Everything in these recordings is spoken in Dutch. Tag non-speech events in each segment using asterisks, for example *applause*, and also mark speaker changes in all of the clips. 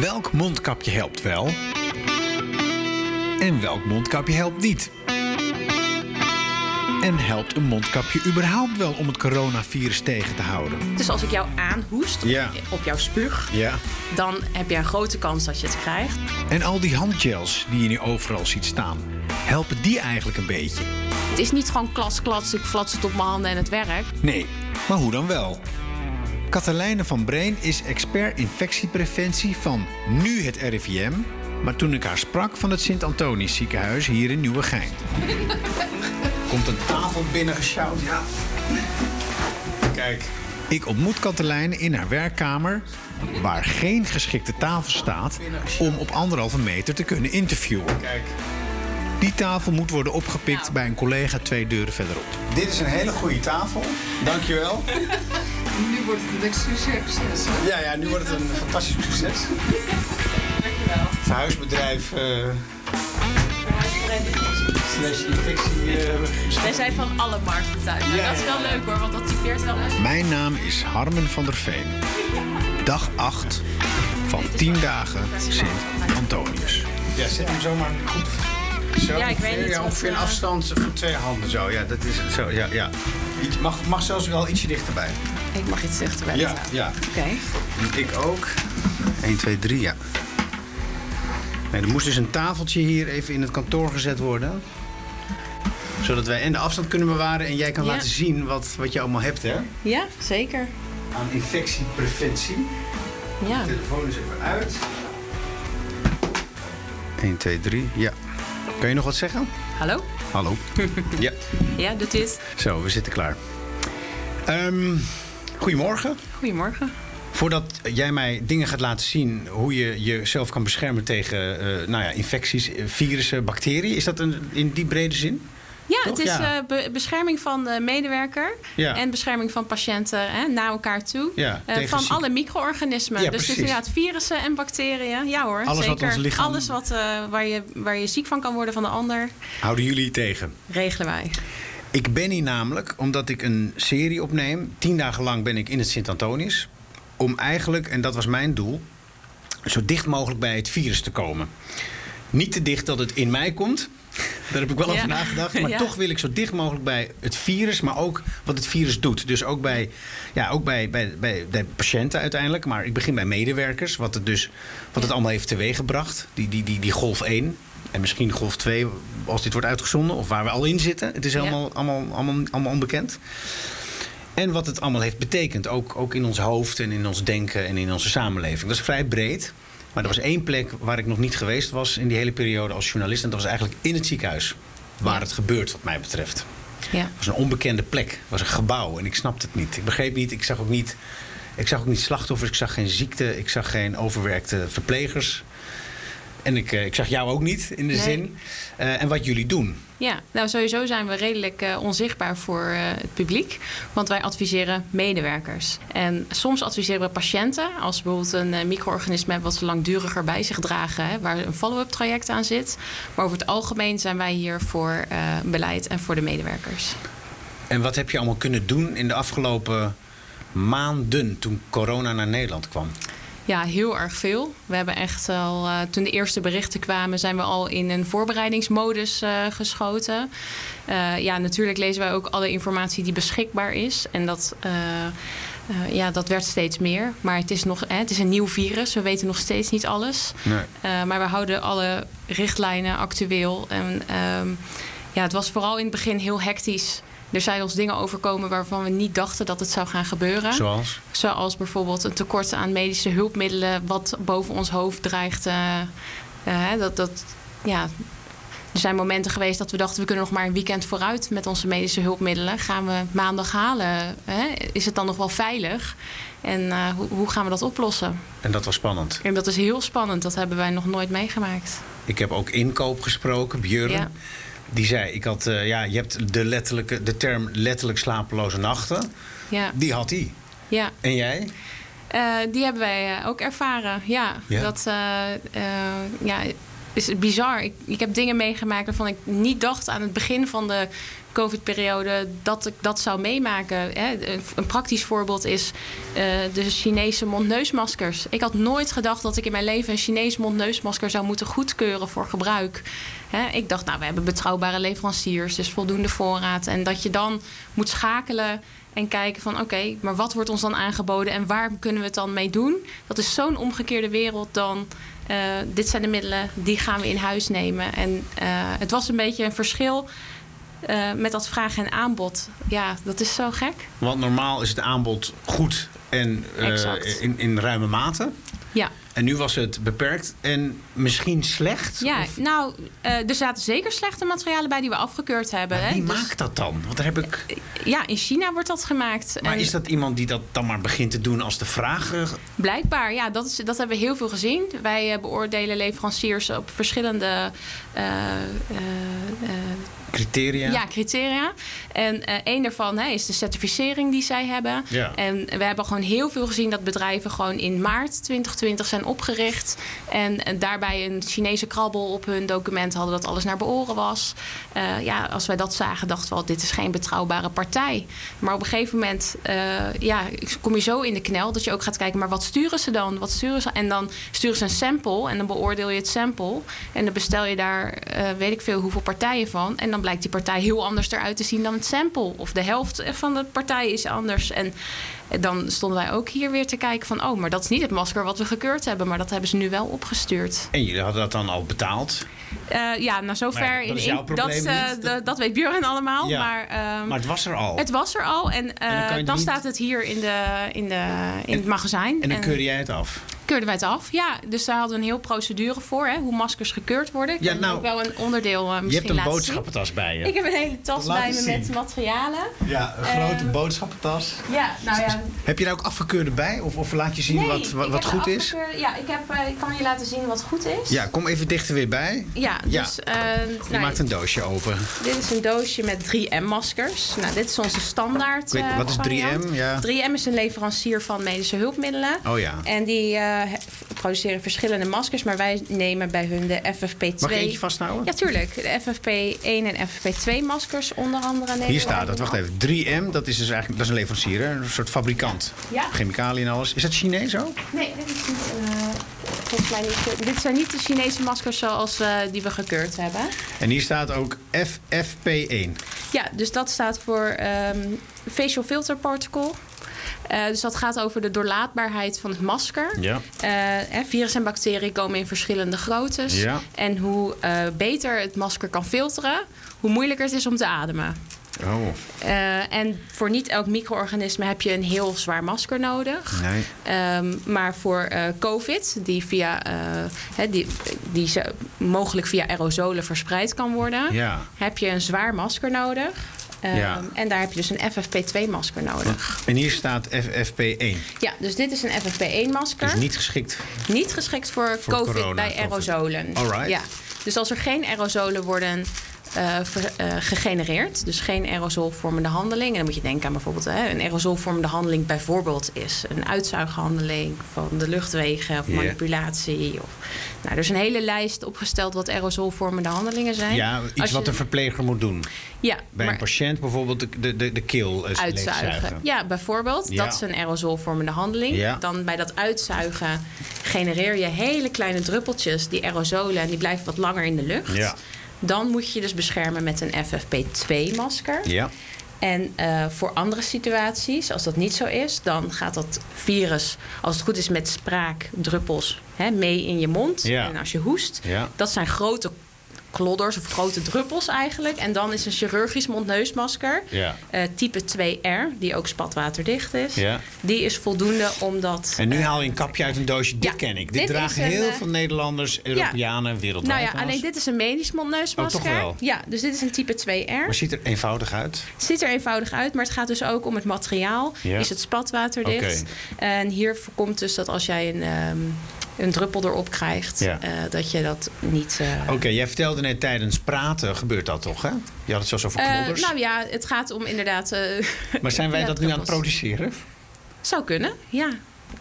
Speaker 1: Welk mondkapje helpt wel? En welk mondkapje helpt niet? En helpt een mondkapje überhaupt wel om het coronavirus tegen te houden?
Speaker 2: Dus als ik jou aanhoest
Speaker 1: Ja.
Speaker 2: op jouw spuug,
Speaker 1: Ja.
Speaker 2: dan heb je een grote kans dat je het krijgt.
Speaker 1: En al die handgels die je nu overal ziet staan, helpen die eigenlijk een beetje?
Speaker 2: Het is niet gewoon klats, klats, ik flats het op mijn handen en het werkt.
Speaker 1: Nee, maar hoe dan wel? Katelijne van Breen is expert infectiepreventie van nu het RIVM... maar toen ik haar sprak van het Sint-Antonisch ziekenhuis hier in Nieuwegein. *laughs* Komt een tafel binnen gesjouwd, ja. Kijk. Ik ontmoet Katelijne in haar werkkamer... waar geen geschikte tafel staat om op anderhalve meter te kunnen interviewen. Kijk. Die tafel moet worden opgepikt bij een collega twee deuren verderop. Dit is een hele goede tafel. Dankjewel.
Speaker 3: Nu wordt het een succes.
Speaker 1: Ja, ja, nu wordt het een fantastisch succes. Dankjewel. Verhuisbedrijf. eh slash infectie. eh.
Speaker 2: Wij zijn van alle markten thuis. Nou,
Speaker 1: Ja,
Speaker 2: dat is wel leuk hoor, want dat typeert wel echt.
Speaker 1: Mijn naam is Harmen van der Veen. Dag 8 van 10 dagen Sint-Antonius.
Speaker 4: Ja, zet hem zomaar goed. Zo,
Speaker 2: Ja, ik weet niet
Speaker 4: Ja,
Speaker 2: wat,
Speaker 4: ongeveer een
Speaker 2: eh,
Speaker 4: afstand van twee handen. Zo, ja, dat is het. Zo, ja, ja. Iets- Mag, mag zelfs wel ietsje dichterbij.
Speaker 2: Ik mag iets dichterbij.
Speaker 4: Ja,
Speaker 2: staan.
Speaker 4: ja.
Speaker 2: Oké.
Speaker 4: Ik ook. 1, 2, 3, ja. Nee, er moest dus een tafeltje hier even in het kantoor gezet worden. Zodat wij en de afstand kunnen bewaren en jij kan
Speaker 2: Ja.
Speaker 4: laten zien wat, wat je allemaal hebt, hè?
Speaker 2: Ja, zeker.
Speaker 4: Aan infectiepreventie.
Speaker 2: Ja.
Speaker 4: telefoon is even uit. 1, 2, 3, ja. Kan je nog wat zeggen?
Speaker 2: Hallo?
Speaker 4: Hallo. *laughs* ja.
Speaker 2: Ja, doet dit.
Speaker 4: Zo, we zitten klaar. Ehm, goedemorgen.
Speaker 2: Goedemorgen.
Speaker 4: Voordat jij mij dingen gaat laten zien hoe je jezelf kan beschermen tegen eh, nou ja, infecties, eh, virussen, bacteriën, is dat een, in die brede zin?
Speaker 2: Ja,
Speaker 4: Toch?
Speaker 2: het is
Speaker 4: Ja.
Speaker 2: eh, be- bescherming van de medewerker
Speaker 4: Ja.
Speaker 2: en bescherming van patiënten hè, naar elkaar toe.
Speaker 4: Ja,
Speaker 2: Eh,
Speaker 4: tegen
Speaker 2: van
Speaker 4: ziek-
Speaker 2: alle micro-organismen.
Speaker 4: Ja,
Speaker 2: dus het is
Speaker 4: precies.
Speaker 2: inderdaad virussen en bacteriën. Ja hoor,
Speaker 4: Alles wat
Speaker 2: zeker.
Speaker 4: ons lichaam-
Speaker 2: Alles wat, eh, waar, je, waar je ziek van kan worden van de ander,
Speaker 4: Houden jullie tegen?
Speaker 2: regelen wij.
Speaker 4: Ik ben hier namelijk omdat ik een serie opneem. Tien dagen lang ben ik in het Sint-Antonius. Om eigenlijk, en dat was mijn doel, zo dicht mogelijk bij het virus te komen. Niet te dicht dat het in mij komt. Daar heb ik wel
Speaker 2: Ja.
Speaker 4: over nagedacht. Maar
Speaker 2: Ja.
Speaker 4: toch wil ik zo dicht mogelijk bij het virus, maar ook wat het virus doet. Dus ook bij, ja, ook bij, bij, bij, bij patiënten uiteindelijk. Maar ik begin bij medewerkers, wat het, dus, wat het allemaal heeft teweeggebracht. Die, die, die, die golf 1 en misschien golf 2 als dit wordt uitgezonden. Of waar we al in zitten. Het is
Speaker 2: Ja.
Speaker 4: helemaal allemaal, allemaal, allemaal onbekend. En wat het allemaal heeft betekend, ook, ook in ons hoofd en in ons denken en in onze samenleving. Dat is vrij breed. Maar er was één plek waar ik nog niet geweest was in die hele periode als journalist. En dat was eigenlijk in het ziekenhuis. Waar het gebeurt, wat mij betreft.
Speaker 2: Ja.
Speaker 4: Het was een onbekende plek. Het was een gebouw en ik snapte het niet. Ik begreep niet, ik zag ook niet, ik zag ook niet slachtoffers, ik zag geen ziekte, ik zag geen overwerkte verplegers. En ik, eh, ik zag jou ook niet in de
Speaker 2: Nee.
Speaker 4: zin. Eh, en wat jullie doen.
Speaker 2: Ja, nou sowieso zijn we redelijk eh, onzichtbaar voor eh, het publiek. Want wij adviseren medewerkers. En soms adviseren we patiënten. Als ze bijvoorbeeld een eh, micro-organisme hebben wat ze langduriger bij zich dragen. Hè, waar een follow-up traject aan zit. Maar over het algemeen zijn wij hier voor eh, beleid en voor de medewerkers.
Speaker 4: En wat heb je allemaal kunnen doen in de afgelopen maanden toen corona naar Nederland kwam?
Speaker 2: Ja, heel erg veel. We hebben echt al, eh, toen de eerste berichten kwamen, zijn we al in een voorbereidingsmodus eh, geschoten. Eh, ja, natuurlijk lezen wij ook alle informatie die beschikbaar is. En dat, eh, eh, ja, dat werd steeds meer. Maar het is, nog, hè, het is een nieuw virus. We weten nog steeds niet alles.
Speaker 4: Nee.
Speaker 2: Eh, maar we houden alle richtlijnen actueel. En ehm, ja, het was vooral in het begin heel hectisch. Er zijn ons dingen overkomen waarvan we niet dachten dat het zou gaan gebeuren.
Speaker 4: Zoals?
Speaker 2: Zoals bijvoorbeeld een tekort aan medische hulpmiddelen, wat boven ons hoofd dreigt. eh, eh, hè, dat, dat, ja. Er zijn momenten geweest dat we dachten, we kunnen nog maar een weekend vooruit met onze medische hulpmiddelen. Gaan we maandag halen? Hè? Is het dan nog wel veilig? En eh, hoe, hoe gaan we dat oplossen?
Speaker 4: En dat was spannend.
Speaker 2: En dat is heel spannend, dat hebben wij nog nooit meegemaakt.
Speaker 4: Ik heb ook inkoop gesproken, Björn.
Speaker 2: Ja.
Speaker 4: Die zei, ik had, eh, ja, je hebt de, letterlijke, de term letterlijk slapeloze nachten.
Speaker 2: Ja,
Speaker 4: Die had hij.
Speaker 2: ja.
Speaker 4: En jij?
Speaker 2: Eh, die hebben wij eh, ook ervaren. Ja,
Speaker 4: Ja.
Speaker 2: dat eh, eh, ja, is bizar. Ik, ik heb dingen meegemaakt waarvan ik niet dacht aan het begin van de COVID-periode dat ik dat zou meemaken. Hè. Een- Een praktisch voorbeeld is eh, de Chinese mondneusmaskers. Ik had nooit gedacht dat ik in mijn leven een Chinees mondneusmasker zou moeten goedkeuren voor gebruik. Hè, ik dacht, nou, we hebben betrouwbare leveranciers, dus voldoende voorraad. En dat je dan moet schakelen en kijken van oké, maar wat wordt ons dan aangeboden en waar kunnen we het dan mee doen? Dat is zo'n omgekeerde wereld dan. eh, dit zijn de middelen, die gaan we in huis nemen. En eh, het was een beetje een verschil eh, met dat vraag en aanbod. Ja, dat is zo gek.
Speaker 4: Want normaal is het aanbod goed en eh,
Speaker 2: Exact.
Speaker 4: in, in ruime mate.
Speaker 2: Ja,
Speaker 4: En nu was het beperkt en misschien slecht.
Speaker 2: ja
Speaker 4: Of-
Speaker 2: nou, eh, er zaten zeker slechte materialen bij die we afgekeurd hebben.
Speaker 4: maar
Speaker 2: hè.
Speaker 4: wie
Speaker 2: Dus-
Speaker 4: maakt dat dan? Want daar heb ik.
Speaker 2: Ja, in China wordt dat gemaakt.
Speaker 4: Maar
Speaker 2: En-
Speaker 4: is dat iemand die dat dan maar begint te doen als de vraag? eh,
Speaker 2: Blijkbaar, ja, dat, is, dat hebben we heel veel gezien. Wij eh, beoordelen leveranciers op verschillende eh, eh, eh,
Speaker 4: Criteria?
Speaker 2: ja, criteria. En eh één daarvan hè, is de certificering die zij hebben.
Speaker 4: Ja.
Speaker 2: En we hebben gewoon heel veel gezien dat bedrijven gewoon in maart 2020 zijn opgericht. En, en daarbij een Chinese krabbel op hun document hadden dat alles naar behoren was. Eh, ja, als wij dat zagen, dachten we al, dit is geen betrouwbare partij. Maar op een gegeven moment eh, ja, kom je zo in de knel dat je ook gaat kijken, maar wat sturen ze dan? Wat sturen ze? En dan sturen ze een sample en dan beoordeel je het sample. En dan bestel je daar eh, weet ik veel hoeveel partijen van. En dan blijkt die partij heel anders eruit te zien dan het sample. Of de helft van de partij is anders. En eh, dan stonden wij ook hier weer te kijken van... oh, maar dat is niet het masker wat we gekeurd hebben... maar dat hebben ze nu wel opgestuurd.
Speaker 4: En jullie hadden dat dan al betaald.
Speaker 2: Eh, ja, nou zover...
Speaker 4: Maar ja, dat is jouw probleem
Speaker 2: dat, eh,
Speaker 4: niet.
Speaker 2: dat, dat weet Björn allemaal,
Speaker 4: Ja,
Speaker 2: maar... ehm,
Speaker 4: Maar het was er al.
Speaker 2: het was er al en, eh,
Speaker 4: dan kan je
Speaker 2: dan,
Speaker 4: het niet-
Speaker 2: staat het hier in, de, in, de, in
Speaker 4: En-
Speaker 2: het magazijn.
Speaker 4: en dan
Speaker 2: En-
Speaker 4: keurde jij het af.
Speaker 2: keurden wij het af. Ja, dus daar hadden we een heel procedure voor, hè, hoe maskers gekeurd worden. Ik
Speaker 4: Ja,
Speaker 2: kan
Speaker 4: nou,
Speaker 2: ook wel een onderdeel eh,
Speaker 4: Je hebt
Speaker 2: misschien
Speaker 4: een
Speaker 2: laten
Speaker 4: boodschappentas bij je.
Speaker 2: zien. Ik heb een hele tas
Speaker 4: Laat
Speaker 2: bij me
Speaker 4: eens
Speaker 2: met
Speaker 4: zien.
Speaker 2: materialen.
Speaker 4: Ja, een
Speaker 2: grote Eh,
Speaker 4: boodschappentas.
Speaker 2: Ja, nou ja.
Speaker 4: Heb je daar ook afgekeurde bij? Of, of laat je zien
Speaker 2: Nee,
Speaker 4: wat, wat,
Speaker 2: ik
Speaker 4: wat
Speaker 2: heb
Speaker 4: goed
Speaker 2: de
Speaker 4: is?
Speaker 2: afgekeurde- Ja, ik, heb, eh, ik kan je laten zien wat goed is.
Speaker 4: Ja, kom even dichter weer bij.
Speaker 2: Ja,
Speaker 4: Ja.
Speaker 2: dus eh,
Speaker 4: Je
Speaker 2: nou,
Speaker 4: maakt een doosje open.
Speaker 2: dit is een doosje met 3M-maskers. Nou, dit is onze standaard.
Speaker 4: Ik weet-
Speaker 2: eh,
Speaker 4: wat is 3M?
Speaker 2: variant.
Speaker 4: Ja.
Speaker 2: 3M is een leverancier van medische hulpmiddelen.
Speaker 4: Oh ja.
Speaker 2: En die eh, produceren verschillende maskers, maar wij nemen bij hun de FFP2.
Speaker 4: Mag ik eentje vasthouden?
Speaker 2: Ja, tuurlijk. De FFP1 en FFP2 maskers onder andere. nemen
Speaker 4: Hier
Speaker 2: we
Speaker 4: staat
Speaker 2: ook
Speaker 4: dat,
Speaker 2: nog.
Speaker 4: wacht even. 3M, dat is dus eigenlijk dat is een leverancier, hè? een soort fabrikant.
Speaker 2: Ja.
Speaker 4: Chemicaliën en alles. Is dat Chinees ook?
Speaker 2: Nee, dit is niet, eh, volgens mij niet. Dit zijn niet de Chinese maskers zoals eh, die we gekeurd hebben.
Speaker 4: En hier staat ook FFP1.
Speaker 2: Ja, dus dat staat voor ehm, Facial Filter Particle. Eh, dus dat gaat over de doorlaatbaarheid van het masker.
Speaker 4: Ja.
Speaker 2: Eh, hè, virus en bacteriën komen in verschillende groottes.
Speaker 4: Ja.
Speaker 2: En hoe eh, beter het masker kan filteren, hoe moeilijker het is om te ademen.
Speaker 4: Oh,
Speaker 2: Eh, en voor niet elk micro-organisme heb je een heel zwaar masker nodig.
Speaker 4: nee.
Speaker 2: Ehm, maar voor eh, COVID, die, via, eh, hè, die, die zo- mogelijk via aerosolen verspreid kan worden,
Speaker 4: Ja.
Speaker 2: heb je een zwaar masker nodig. Ehm,
Speaker 4: Ja.
Speaker 2: En daar heb je dus een FFP2-masker nodig.
Speaker 4: En hier staat FFP1.
Speaker 2: Ja, dus dit is een FFP1-masker.
Speaker 4: Dus niet geschikt.
Speaker 2: Niet geschikt voor,
Speaker 4: Voor
Speaker 2: COVID
Speaker 4: corona,
Speaker 2: bij
Speaker 4: COVID.
Speaker 2: aerosolen.
Speaker 4: Alright.
Speaker 2: Ja. Dus als er geen aerosolen worden eh, ver- eh, gegenereerd, dus geen aerosolvormende handeling, en dan moet je denken aan bijvoorbeeld hè, een aerosolvormende handeling, bijvoorbeeld is een uitzuighandeling van de luchtwegen of
Speaker 4: Ja.
Speaker 2: manipulatie. Of, nou, er is een hele lijst opgesteld wat aerosolvormende handelingen zijn.
Speaker 4: Ja, iets
Speaker 2: Als je-
Speaker 4: wat een verpleger moet doen.
Speaker 2: ja,
Speaker 4: Bij een
Speaker 2: maar-
Speaker 4: patiënt bijvoorbeeld de, de, de, de keel eh,
Speaker 2: uitzuigen.
Speaker 4: leegzuigen.
Speaker 2: Ja, bijvoorbeeld.
Speaker 4: Ja.
Speaker 2: Dat is een aerosolvormende handeling.
Speaker 4: Ja.
Speaker 2: Dan bij dat uitzuigen genereer je hele kleine druppeltjes, die aerosolen, en die blijven wat langer in de lucht.
Speaker 4: Ja.
Speaker 2: Dan moet je je dus beschermen met een FFP2-masker.
Speaker 4: Ja.
Speaker 2: En eh, voor andere situaties, als dat niet zo is, dan gaat dat virus, als het goed is met spraakdruppels, hè, mee in je mond.
Speaker 4: Ja.
Speaker 2: En als je hoest,
Speaker 4: Ja.
Speaker 2: dat zijn grote klodders of grote druppels eigenlijk. En dan is een chirurgisch mondneusmasker,
Speaker 4: Ja.
Speaker 2: eh, type 2R, die ook spatwaterdicht is,
Speaker 4: Ja.
Speaker 2: die is voldoende omdat...
Speaker 4: En nu haal je een kapje uit een doosje. Dit
Speaker 2: Eh, Ja,
Speaker 4: ken ik. Dit,
Speaker 2: dit
Speaker 4: dragen
Speaker 2: is een,
Speaker 4: heel
Speaker 2: eh,
Speaker 4: veel Nederlanders, Europeanen, wereldwijd.
Speaker 2: nou ja,
Speaker 4: trouwens.
Speaker 2: alleen dit is een medisch mondneusmasker.
Speaker 4: Oh, toch wel?
Speaker 2: Ja, dus dit is een type 2R.
Speaker 4: Maar ziet er eenvoudig uit.
Speaker 2: Het ziet er eenvoudig uit, maar het gaat dus ook om het materiaal.
Speaker 4: Ja.
Speaker 2: Is het spatwaterdicht?
Speaker 4: Oké.
Speaker 2: En hier voorkomt dus dat als jij een, ehm, een druppel erop krijgt,
Speaker 4: Ja.
Speaker 2: eh, dat je dat niet. eh,
Speaker 4: Oké, jij vertelde net tijdens praten gebeurt dat toch, hè? Je had het zelfs over
Speaker 2: Eh,
Speaker 4: knodders.
Speaker 2: nou ja, het gaat om inderdaad. eh, *laughs*
Speaker 4: maar zijn wij
Speaker 2: ja,
Speaker 4: dat nu aan het
Speaker 2: druppels.
Speaker 4: produceren?
Speaker 2: zou kunnen, ja.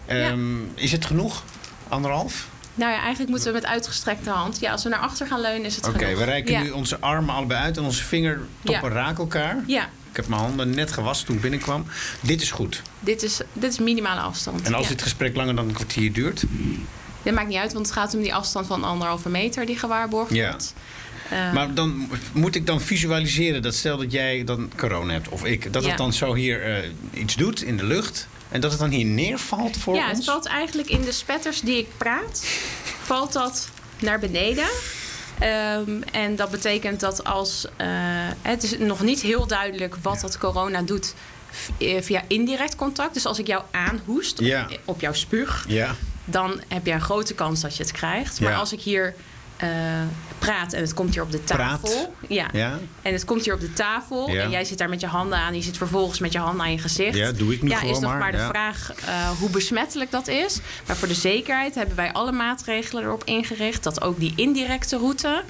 Speaker 4: Ehm, Is het genoeg? Anderhalf?
Speaker 2: Nou ja, eigenlijk moeten we met uitgestrekte hand. Ja, als we naar achter gaan leunen is het
Speaker 4: Oké,
Speaker 2: genoeg.
Speaker 4: we reiken
Speaker 2: Ja.
Speaker 4: nu onze armen allebei uit en onze vingertoppen
Speaker 2: Ja.
Speaker 4: raken elkaar.
Speaker 2: Ja,
Speaker 4: Ik heb mijn handen net gewassen toen ik binnenkwam. Dit is goed.
Speaker 2: dit is, dit is minimale afstand.
Speaker 4: En als
Speaker 2: Ja. Nou.
Speaker 4: dit gesprek langer dan een kwartier duurt,
Speaker 2: Dit maakt niet uit, want het gaat om die afstand van anderhalve meter die gewaarborgd
Speaker 4: Ja.
Speaker 2: wordt. Eh,
Speaker 4: Maar dan moet ik dan visualiseren dat stel dat jij dan corona hebt of ik, dat
Speaker 2: Ja.
Speaker 4: het dan zo hier eh, iets doet in de lucht en dat het dan hier neervalt voor
Speaker 2: ja,
Speaker 4: ons.
Speaker 2: het valt eigenlijk in de spetters die ik praat, valt dat naar beneden. Ehm, en dat betekent dat als eh, het is nog niet heel duidelijk wat dat corona doet v- eh, via indirect contact. Dus als ik jou aanhoest op-
Speaker 4: Ja.
Speaker 2: op, jouw spuug,
Speaker 4: Ja,
Speaker 2: dan heb jij een grote kans dat je het krijgt. Maar
Speaker 4: Ja.
Speaker 2: als ik hier eh, praat en het komt hier op de
Speaker 4: Praat.
Speaker 2: tafel. Ja.
Speaker 4: ja,
Speaker 2: En het komt hier op de tafel
Speaker 4: Ja.
Speaker 2: en jij zit daar met je handen aan. Je zit vervolgens met je handen aan je gezicht.
Speaker 4: Ja, doe ik nu
Speaker 2: Ja,
Speaker 4: gewoon
Speaker 2: is nog
Speaker 4: maar,
Speaker 2: maar, de
Speaker 4: ja.
Speaker 2: vraag eh, hoe besmettelijk dat is. Maar voor de zekerheid hebben wij alle maatregelen erop ingericht... dat ook die indirecte route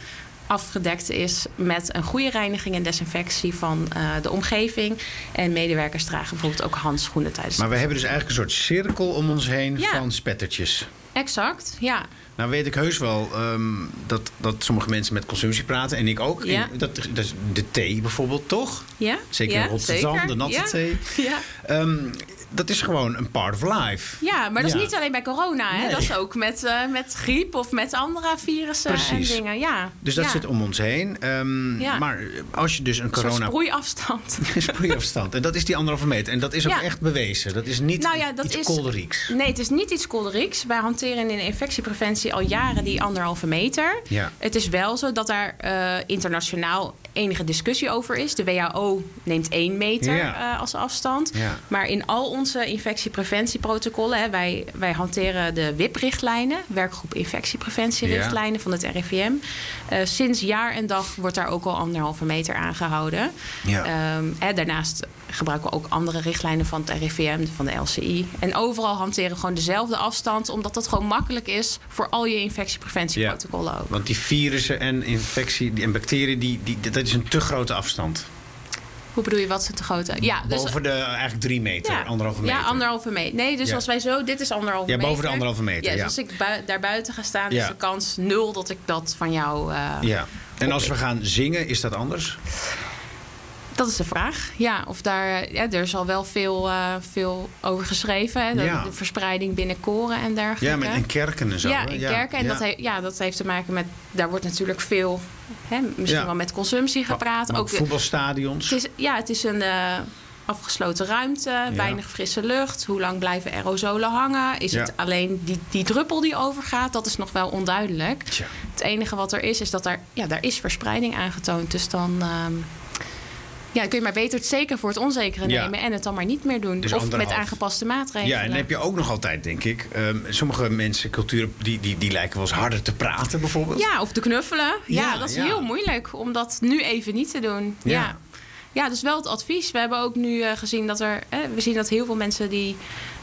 Speaker 2: afgedekt is met een goede reiniging en desinfectie van eh, de omgeving. En medewerkers dragen bijvoorbeeld ook handschoenen tijdens...
Speaker 4: Maar we hebben dus eigenlijk een soort cirkel om ons heen
Speaker 2: Ja.
Speaker 4: van spettertjes.
Speaker 2: Exact, ja.
Speaker 4: Nou weet ik heus wel ehm, dat, dat sommige mensen met consumptie praten en ik ook.
Speaker 2: Ja.
Speaker 4: En dat, dat is de thee bijvoorbeeld, toch?
Speaker 2: ja?
Speaker 4: Zeker
Speaker 2: ja,
Speaker 4: in Rotterdam,
Speaker 2: zeker.
Speaker 4: de natte
Speaker 2: ja.
Speaker 4: thee.
Speaker 2: Ja.
Speaker 4: Ehm, dat is gewoon een part of life.
Speaker 2: Ja, maar dat is
Speaker 4: Ja.
Speaker 2: niet alleen bij corona. Hè?
Speaker 4: Nee.
Speaker 2: Dat is ook met, eh, met griep of met andere virussen
Speaker 4: Precies.
Speaker 2: en dingen. Ja.
Speaker 4: Dus dat
Speaker 2: ja.
Speaker 4: zit om ons heen. Ehm,
Speaker 2: Ja.
Speaker 4: Maar als je dus een
Speaker 2: Een soort
Speaker 4: *laughs* corona
Speaker 2: sproeiafstand.
Speaker 4: Sproeiafstand. En dat is die anderhalve meter. En dat is ook
Speaker 2: Ja.
Speaker 4: echt bewezen. Dat is niet
Speaker 2: Nou ja, dat
Speaker 4: iets
Speaker 2: is-
Speaker 4: kolderieks.
Speaker 2: Nee, het is niet iets kolderieks. Wij hanteren in de infectiepreventie al jaren die anderhalve meter.
Speaker 4: Ja.
Speaker 2: Het is wel zo dat daar eh, internationaal enige discussie over is. De WHO neemt één meter
Speaker 4: Ja.
Speaker 2: eh, als afstand.
Speaker 4: Ja.
Speaker 2: Maar in al onze infectiepreventieprotocollen, hè, wij, wij hanteren de WIP-richtlijnen, werkgroep infectiepreventierichtlijnen van het RIVM. Eh, sinds jaar en dag wordt daar ook al anderhalve meter aangehouden.
Speaker 4: Ja.
Speaker 2: Ehm, hè, daarnaast gebruiken we ook andere richtlijnen van het RIVM, van de LCI. En overal hanteren we gewoon dezelfde afstand, omdat dat gewoon makkelijk is voor al je infectiepreventieprotocollen ook.
Speaker 4: Want die virussen en infectie die- en bacteriën, die, die, dat is een te grote afstand.
Speaker 2: Hoe bedoel je, wat is het te grote? Ja, dus-
Speaker 4: boven de eigenlijk drie meter, anderhalve meter.
Speaker 2: Ja, anderhalve meter. Nee, dus
Speaker 4: Ja.
Speaker 2: als wij zo, dit is anderhalve
Speaker 4: Ja,
Speaker 2: meter.
Speaker 4: boven de anderhalve meter,
Speaker 2: dus
Speaker 4: ja.
Speaker 2: als ik bui- daar buiten ga staan,
Speaker 4: Ja.
Speaker 2: is de kans nul dat ik dat van jou... eh,
Speaker 4: Ja. En als we gaan zingen, is dat anders?
Speaker 2: Dat is de vraag. Ja, of daar, ja, er is al wel veel, eh, veel over geschreven. Hè, dat-
Speaker 4: Ja.
Speaker 2: De verspreiding binnen koren en
Speaker 4: Ja,
Speaker 2: dergelijke.
Speaker 4: met in kerken en zo.
Speaker 2: ja,
Speaker 4: hè?
Speaker 2: in kerken. En
Speaker 4: ja.
Speaker 2: Dat, he- ja, dat heeft te maken met... Daar wordt natuurlijk veel, hè, misschien
Speaker 4: Ja.
Speaker 2: wel met consumptie gepraat.
Speaker 4: Maar
Speaker 2: ook de-
Speaker 4: voetbalstadions.
Speaker 2: het is, ja, het is een eh, afgesloten ruimte, weinig frisse lucht. Hoe lang blijven aerosolen hangen? Is
Speaker 4: Ja.
Speaker 2: het alleen die, die druppel die overgaat? Dat is nog wel onduidelijk.
Speaker 4: Tja.
Speaker 2: Het enige wat er is, is dat daar, ja, daar is verspreiding aangetoond. Dus dan... ehm, ja, kun je maar beter het zeker voor het onzekere
Speaker 4: Ja.
Speaker 2: nemen en het dan maar niet meer doen.
Speaker 4: Dus
Speaker 2: of met
Speaker 4: anderhalf.
Speaker 2: aangepaste maatregelen.
Speaker 4: Ja, en dan heb je ook nog altijd, denk ik, ehm, sommige mensen, culturen, die, die, die lijken wel eens harder te praten bijvoorbeeld.
Speaker 2: Ja, of te knuffelen. Ja,
Speaker 4: Ja,
Speaker 2: dat is
Speaker 4: ja.
Speaker 2: heel moeilijk om dat nu even niet te doen.
Speaker 4: Ja.
Speaker 2: Ja. ja. dus wel het advies. We hebben ook nu eh, gezien dat er... eh, we zien dat heel veel mensen die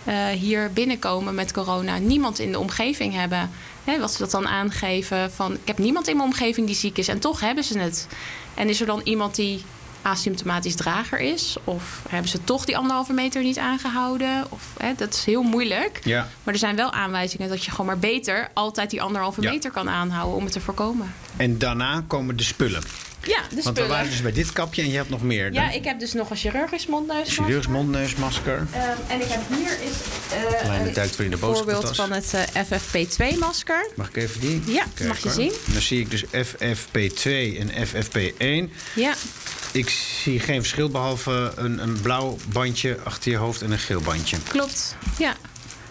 Speaker 2: eh, hier binnenkomen met corona... niemand in de omgeving hebben. Hè, wat ze dat dan aangeven van... ik heb niemand in mijn omgeving die ziek is. En toch hebben ze het. En is er dan iemand die asymptomatisch drager is? Of hebben ze toch die anderhalve meter niet aangehouden? Of, hè, dat is heel moeilijk.
Speaker 4: Ja.
Speaker 2: Maar er zijn wel aanwijzingen dat je gewoon maar beter altijd die anderhalve
Speaker 4: Ja.
Speaker 2: meter kan aanhouden om het te voorkomen.
Speaker 4: En daarna komen de spullen.
Speaker 2: Ja, de
Speaker 4: Want we
Speaker 2: spullen.
Speaker 4: waren dus bij dit kapje en je had nog meer.
Speaker 2: Ja,
Speaker 4: Ja,
Speaker 2: ik heb dus nog een chirurgisch mondneus. Ehm,
Speaker 4: Chirurgs mondneusmasker.
Speaker 2: en ik heb hier is eh,
Speaker 4: Kleine een duikt weer in de boodschappentas.
Speaker 2: voorbeeld van het eh, FFP2-masker.
Speaker 4: Mag ik even die?
Speaker 2: Ja, mag je
Speaker 4: hoor.
Speaker 2: zien.
Speaker 4: Dan zie ik dus FFP2 en FFP1.
Speaker 2: Ja,
Speaker 4: Ik zie geen verschil behalve een, een blauw bandje achter je hoofd en een geel bandje.
Speaker 2: klopt. Ja.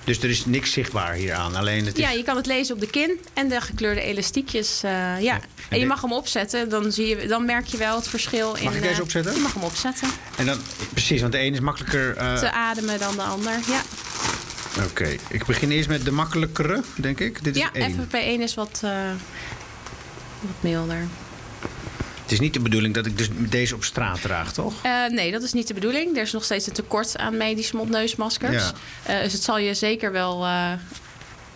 Speaker 4: Dus er is niks zichtbaar hier aan. Alleen het is...
Speaker 2: ja, je kan het lezen op de kin en de gekleurde elastiekjes. eh, ja. En
Speaker 4: de-
Speaker 2: je mag hem opzetten, dan, zie je, dan merk je wel het verschil. in,
Speaker 4: Mag ik deze
Speaker 2: eh,
Speaker 4: opzetten?
Speaker 2: Je mag hem opzetten.
Speaker 4: En dan, precies, want de een is makkelijker. eh,
Speaker 2: Te ademen dan de ander. Ja,
Speaker 4: Oké, ik begin eerst met de makkelijkere, denk ik. Dit is
Speaker 2: ja
Speaker 4: één.
Speaker 2: FFP1 is wat, eh, wat milder.
Speaker 4: Het is niet de bedoeling dat ik dus deze op straat draag, toch?
Speaker 2: Eh, nee, dat is niet de bedoeling. Er is nog steeds een tekort aan medisch mondneusmaskers.
Speaker 4: Ja.
Speaker 2: Eh, dus het zal je zeker wel. eh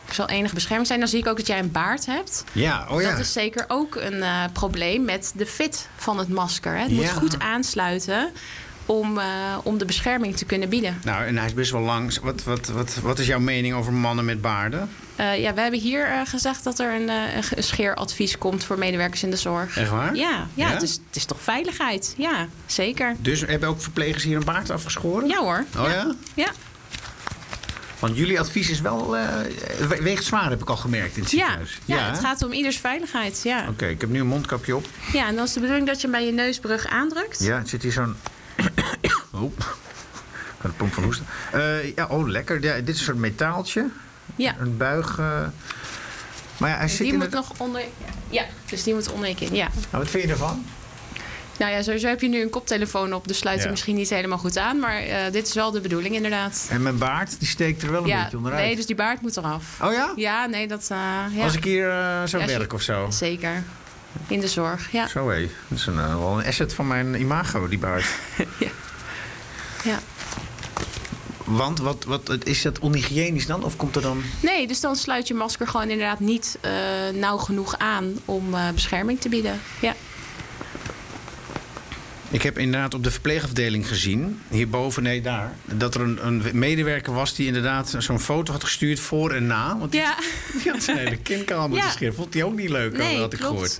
Speaker 2: er zal enige bescherming zijn. Dan zie ik ook dat jij een baard hebt.
Speaker 4: Ja, oh ja.
Speaker 2: Dat is zeker ook een eh, probleem met de fit van het masker. Hè. Het moet
Speaker 4: Ja.
Speaker 2: goed aansluiten om, eh, om de bescherming te kunnen bieden.
Speaker 4: Nou, en hij is best wel lang. Wat, wat, wat, wat is jouw mening over mannen met baarden?
Speaker 2: Eh, ja, we hebben hier eh, gezegd dat er een, eh, een ge- een scheeradvies komt voor medewerkers in de zorg.
Speaker 4: Echt waar?
Speaker 2: Ja, ja,
Speaker 4: Ja?
Speaker 2: Het, is, het is toch veiligheid? Ja, zeker.
Speaker 4: Dus hebben ook verplegers hier een baard afgeschoren?
Speaker 2: Ja hoor.
Speaker 4: Oh ja?
Speaker 2: Ja,
Speaker 4: Want jullie advies is wel, eh, we- weegt zwaar, heb ik al gemerkt in het
Speaker 2: ja.
Speaker 4: ziekenhuis.
Speaker 2: ja,
Speaker 4: hè?
Speaker 2: het gaat om ieders veiligheid. Ja.
Speaker 4: Oké, ik heb nu een mondkapje op.
Speaker 2: ja, en dan is de bedoeling dat je hem bij je neusbrug aandrukt.
Speaker 4: Ja, het zit hier *coughs* zo'n... oh, ik had een pomp van hoesten. Eh, ja, oh, lekker. Ja, dit is een soort metaaltje.
Speaker 2: Ja.
Speaker 4: Een buig. eh. Maar ja, hij zit
Speaker 2: Die
Speaker 4: in
Speaker 2: moet
Speaker 4: het...
Speaker 2: nog onder. Ja, dus die moet onder je kin. Ja.
Speaker 4: Nou, wat vind je ervan?
Speaker 2: Nou ja, sowieso heb je nu een koptelefoon op, dus sluit hij
Speaker 4: Ja.
Speaker 2: misschien niet helemaal goed aan. Maar eh, dit is wel de bedoeling, inderdaad.
Speaker 4: En mijn baard, die steekt er wel een
Speaker 2: ja,
Speaker 4: beetje onderuit.
Speaker 2: nee, dus die baard moet eraf.
Speaker 4: Oh ja?
Speaker 2: Ja, nee, dat. eh, ja.
Speaker 4: Als ik hier eh zou
Speaker 2: Ja, als je-
Speaker 4: werken of zo.
Speaker 2: Zeker. In de zorg, ja.
Speaker 4: Zo hé, dat is een, eh, wel een asset van mijn imago, die
Speaker 2: *laughs*
Speaker 4: baard.
Speaker 2: ja.
Speaker 4: Want wat, wat, het- is dat onhygiënisch dan? Of komt er dan...
Speaker 2: Nee, dus dan sluit je masker gewoon inderdaad niet eh, nauw genoeg aan om eh, bescherming te bieden. Ja.
Speaker 4: Ik heb inderdaad op de verpleegafdeling gezien, hierboven, nee daar, dat er een, een medewerker was die inderdaad zo'n foto had gestuurd voor en na. Want die,
Speaker 2: Ja,
Speaker 4: *laughs* die had zijn hele kinkaal moeten
Speaker 2: *laughs* Ja.
Speaker 4: scheren. Vond die ook niet leuk,
Speaker 2: Nee,
Speaker 4: had ik
Speaker 2: klopt.
Speaker 4: gehoord.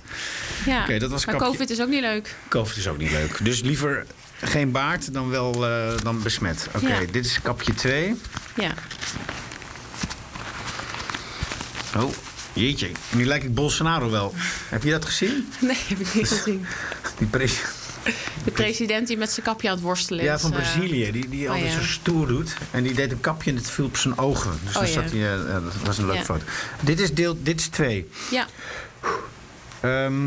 Speaker 2: ja.
Speaker 4: Oké, dat was
Speaker 2: maar
Speaker 4: kapje-
Speaker 2: COVID is ook niet leuk.
Speaker 4: Covid is ook niet leuk. Dus liever geen baard dan wel eh, dan besmet. Oké,
Speaker 2: Ja.
Speaker 4: dit is kapje 2.
Speaker 2: Ja.
Speaker 4: Oh, jeetje. Nu lijk ik Bolsonaro wel. heb je dat gezien?
Speaker 2: Nee, heb ik niet gezien.
Speaker 4: Die pres-
Speaker 2: De president die met zijn kapje aan het worstelen is.
Speaker 4: ja, van
Speaker 2: eh,
Speaker 4: Brazilië. Die, die
Speaker 2: oh
Speaker 4: altijd
Speaker 2: ja.
Speaker 4: zo stoer doet. En die deed een kapje en het viel op zijn ogen. Dus
Speaker 2: Oh
Speaker 4: dan
Speaker 2: ja.
Speaker 4: zat hij... eh, ja, dat was een leuke
Speaker 2: Ja.
Speaker 4: foto. Dit is deel... Dit is 2.
Speaker 2: ja.
Speaker 4: Ehm,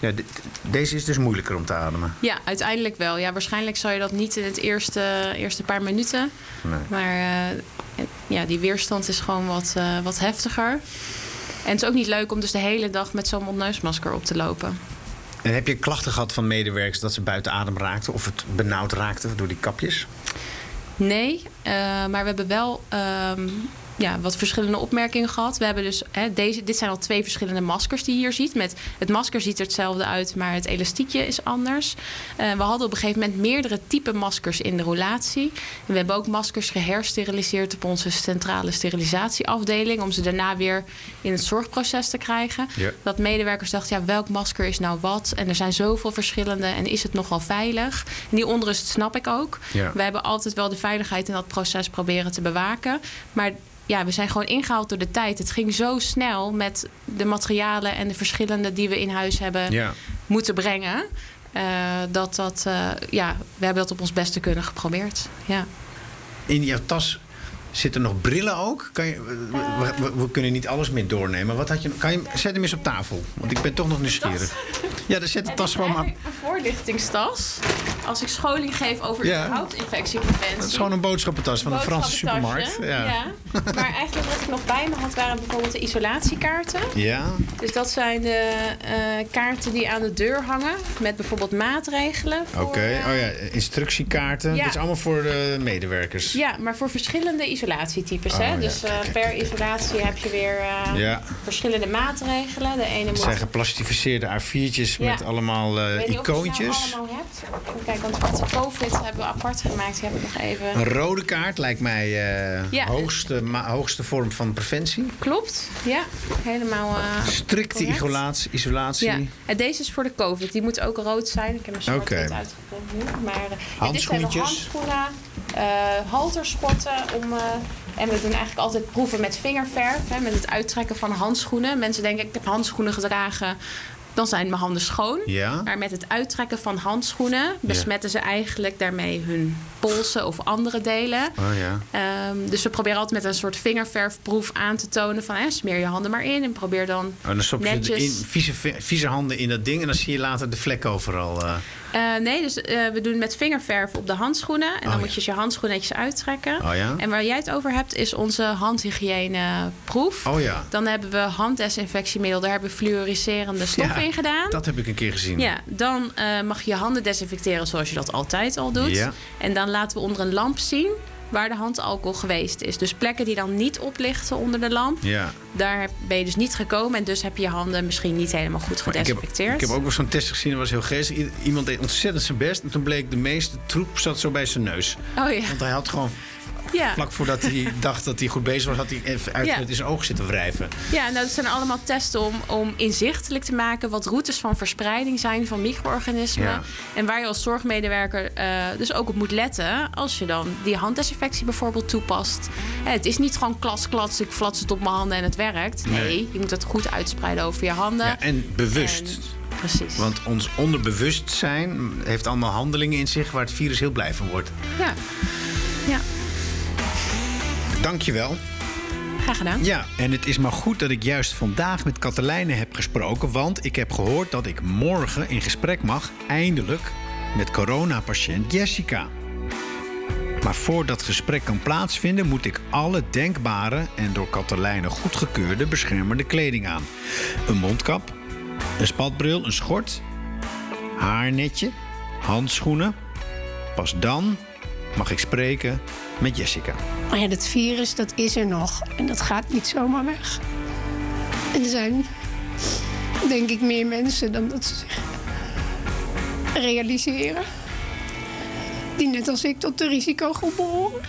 Speaker 4: ja, dit- deze is dus moeilijker om te ademen.
Speaker 2: ja, uiteindelijk wel. Ja, waarschijnlijk zou je dat niet in het eerste, eerste paar minuten.
Speaker 4: Nee.
Speaker 2: Maar eh, ja, die weerstand is gewoon wat, eh, wat heftiger. En het is ook niet leuk om dus de hele dag met zo'n mondneusmasker op te lopen.
Speaker 4: En heb je klachten gehad van medewerkers dat ze buiten adem raakten of het benauwd raakten door die kapjes?
Speaker 2: Nee, eh, maar we hebben wel ehm, ja, wat verschillende opmerkingen gehad. We hebben dus, hè, deze, dit zijn al twee verschillende maskers die je hier ziet. Met, het masker ziet er hetzelfde uit, maar het elastiekje is anders. Eh, we hadden op een gegeven moment meerdere type maskers in de roulatie. En we hebben ook maskers gehersteriliseerd op onze centrale sterilisatieafdeling... om ze daarna weer in het zorgproces te krijgen.
Speaker 4: Ja.
Speaker 2: Dat medewerkers dachten, ja, welk masker is nou wat? En er zijn zoveel verschillende en is het nogal veilig? En die onrust snap ik ook.
Speaker 4: Ja.
Speaker 2: We hebben altijd wel de veiligheid in dat proces proberen te bewaken. Maar ja, we zijn gewoon ingehaald door de tijd. Het ging zo snel met de materialen en de verschillende die we in huis hebben moeten brengen. eh, dat dat, eh, ja, we hebben dat op ons beste kunnen geprobeerd. Ja.
Speaker 4: In jouw tas zitten nog brillen ook. Kan je, we,
Speaker 2: Eh.
Speaker 4: we- we kunnen niet alles meer doornemen. Wat had je, kan je, zet hem eens op tafel, want ik ben toch nog nieuwsgierig. Ja, dan zet de tas gewoon maar.
Speaker 2: een voorlichtingstas. Als ik scholing geef over
Speaker 4: Ja.
Speaker 2: überhaupt
Speaker 4: überhaupt
Speaker 2: infectiepreventie.
Speaker 4: Het is gewoon een boodschappentas van een Franse supermarkt.
Speaker 2: Ja.
Speaker 4: Ja.
Speaker 2: Maar eigenlijk wat ik nog bij me had waren bijvoorbeeld de isolatiekaarten.
Speaker 4: ja.
Speaker 2: Dus dat zijn de eh, kaarten die aan de deur hangen. Met bijvoorbeeld maatregelen. voor,
Speaker 4: Oké.
Speaker 2: eh,
Speaker 4: Oh ja, instructiekaarten.
Speaker 2: Ja.
Speaker 4: Dit is allemaal voor de medewerkers.
Speaker 2: Ja, maar voor verschillende isolatietypes.
Speaker 4: Oh,
Speaker 2: hè?
Speaker 4: ja.
Speaker 2: Dus eh,
Speaker 4: Kijk, kijk,
Speaker 2: per
Speaker 4: kijk, kijk.
Speaker 2: isolatie heb je weer eh,
Speaker 4: Ja.
Speaker 2: verschillende maatregelen. De ene
Speaker 4: Het
Speaker 2: moet...
Speaker 4: zijn geplastificeerde A4'tjes
Speaker 2: Ja.
Speaker 4: met allemaal eh,
Speaker 2: Ik weet niet of je ze nou
Speaker 4: icoontjes.
Speaker 2: allemaal hebt. Even kijken, want wat de COVID hebben we apart gemaakt. Die heb ik nog even.
Speaker 4: Een rode kaart lijkt mij eh
Speaker 2: Ja.
Speaker 4: hoogste, ma- hoogste vorm van preventie.
Speaker 2: Klopt, ja. Helemaal. eh,
Speaker 4: Strikte
Speaker 2: correct.
Speaker 4: isolatie. isolatie.
Speaker 2: Ja, en deze is voor de COVID. Die moet ook rood zijn. Ik heb hem zwart
Speaker 4: Oké.
Speaker 2: wit uitgeprint nu. Maar eh, ja, dit zijn nog
Speaker 4: Handschoentjes.
Speaker 2: handschoenen, eh halterschotten. Om, eh, en we doen eigenlijk altijd proeven met vingerverf. Hè, met het uittrekken van handschoenen. Mensen denken, ik heb handschoenen gedragen. Dan zijn mijn handen schoon.
Speaker 4: Ja.
Speaker 2: Maar met het uittrekken van handschoenen besmetten ze eigenlijk daarmee hun polsen of andere delen.
Speaker 4: Oh ja.
Speaker 2: Ehm, dus we proberen altijd met een soort vingerverfproef aan te tonen van hè, smeer je handen maar in en probeer dan
Speaker 4: En Oh, dan stop je de in,
Speaker 2: netjes.
Speaker 4: vieze, vi- vieze handen in dat ding en dan zie je later de vlek overal. eh.
Speaker 2: Eh, nee, dus eh, we doen met vingerverf op de handschoenen. En dan
Speaker 4: Oh,
Speaker 2: moet
Speaker 4: ja.
Speaker 2: je dus je handschoenen netjes uittrekken.
Speaker 4: Oh ja?
Speaker 2: En waar jij het over hebt, is onze handhygiëneproef.
Speaker 4: Oh ja.
Speaker 2: Dan hebben we handdesinfectiemiddel. Daar hebben we fluoriserende stof
Speaker 4: Ja,
Speaker 2: in gedaan.
Speaker 4: Dat heb ik een keer gezien.
Speaker 2: Ja, dan eh, mag je je handen desinfecteren zoals je dat altijd al doet.
Speaker 4: Ja.
Speaker 2: En dan laten we onder een lamp zien waar de handalcohol geweest is. Dus plekken die dan niet oplichten onder de lamp.
Speaker 4: Ja.
Speaker 2: Daar ben je dus niet gekomen. En dus heb je je handen misschien niet helemaal goed
Speaker 4: Maar Ik heb,
Speaker 2: gedesinfecteerd.
Speaker 4: ik heb ook wel zo'n test gezien, dat was heel geestig. I- *laughs* Iemand deed ontzettend zijn best en toen bleek de meeste troep zat zo bij zijn neus.
Speaker 2: Oh ja.
Speaker 4: Want hij had gewoon
Speaker 2: Ja.
Speaker 5: Vlak voordat hij dacht dat hij goed bezig was, had hij even uit
Speaker 2: Ah. Ja.
Speaker 5: met zijn oog zitten wrijven.
Speaker 2: Ja, nou, dat zijn allemaal testen om, om inzichtelijk te maken wat routes van verspreiding zijn van micro-organismen.
Speaker 5: Ja.
Speaker 2: En waar je als zorgmedewerker eh, dus ook op moet letten als je dan die handdesinfectie bijvoorbeeld toepast. Hè, het is niet gewoon klas, klats, ik flats het op mijn handen en het werkt. Nee,
Speaker 5: Nee.
Speaker 2: je moet het goed uitspreiden over je handen.
Speaker 5: Ja, en bewust.
Speaker 2: Ah. En- precies.
Speaker 5: Want ons onderbewustzijn heeft allemaal handelingen in zich waar het virus heel blij van wordt.
Speaker 2: Ja. ja,
Speaker 5: Dankjewel.
Speaker 2: graag gedaan.
Speaker 4: Ja, en het is maar goed dat ik juist vandaag met Katelijne heb gesproken. Want ik heb gehoord dat ik morgen in gesprek mag, eindelijk, met coronapatiënt Jessica. Maar voor dat gesprek kan plaatsvinden, moet ik alle denkbare en door Katelijne goedgekeurde beschermende kleding aan: een mondkap, een spatbril, een schort, haarnetje, handschoenen. Pas dan mag ik spreken met Jessica.
Speaker 6: Maar ja, dat virus, dat is er nog. En dat gaat niet zomaar weg. En er zijn, denk ik, meer mensen dan dat ze zich realiseren. Die net als ik tot de risicogroep behoren.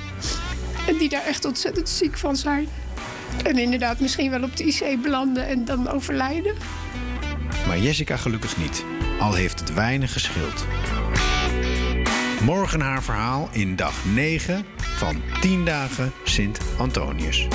Speaker 6: En die daar echt ontzettend ziek van zijn. En inderdaad misschien wel op de IC belanden en dan overlijden.
Speaker 4: Maar Jessica gelukkig niet. Al heeft het weinig geschild. Morgen haar verhaal in dag 9 van 10 dagen Sint Antonius.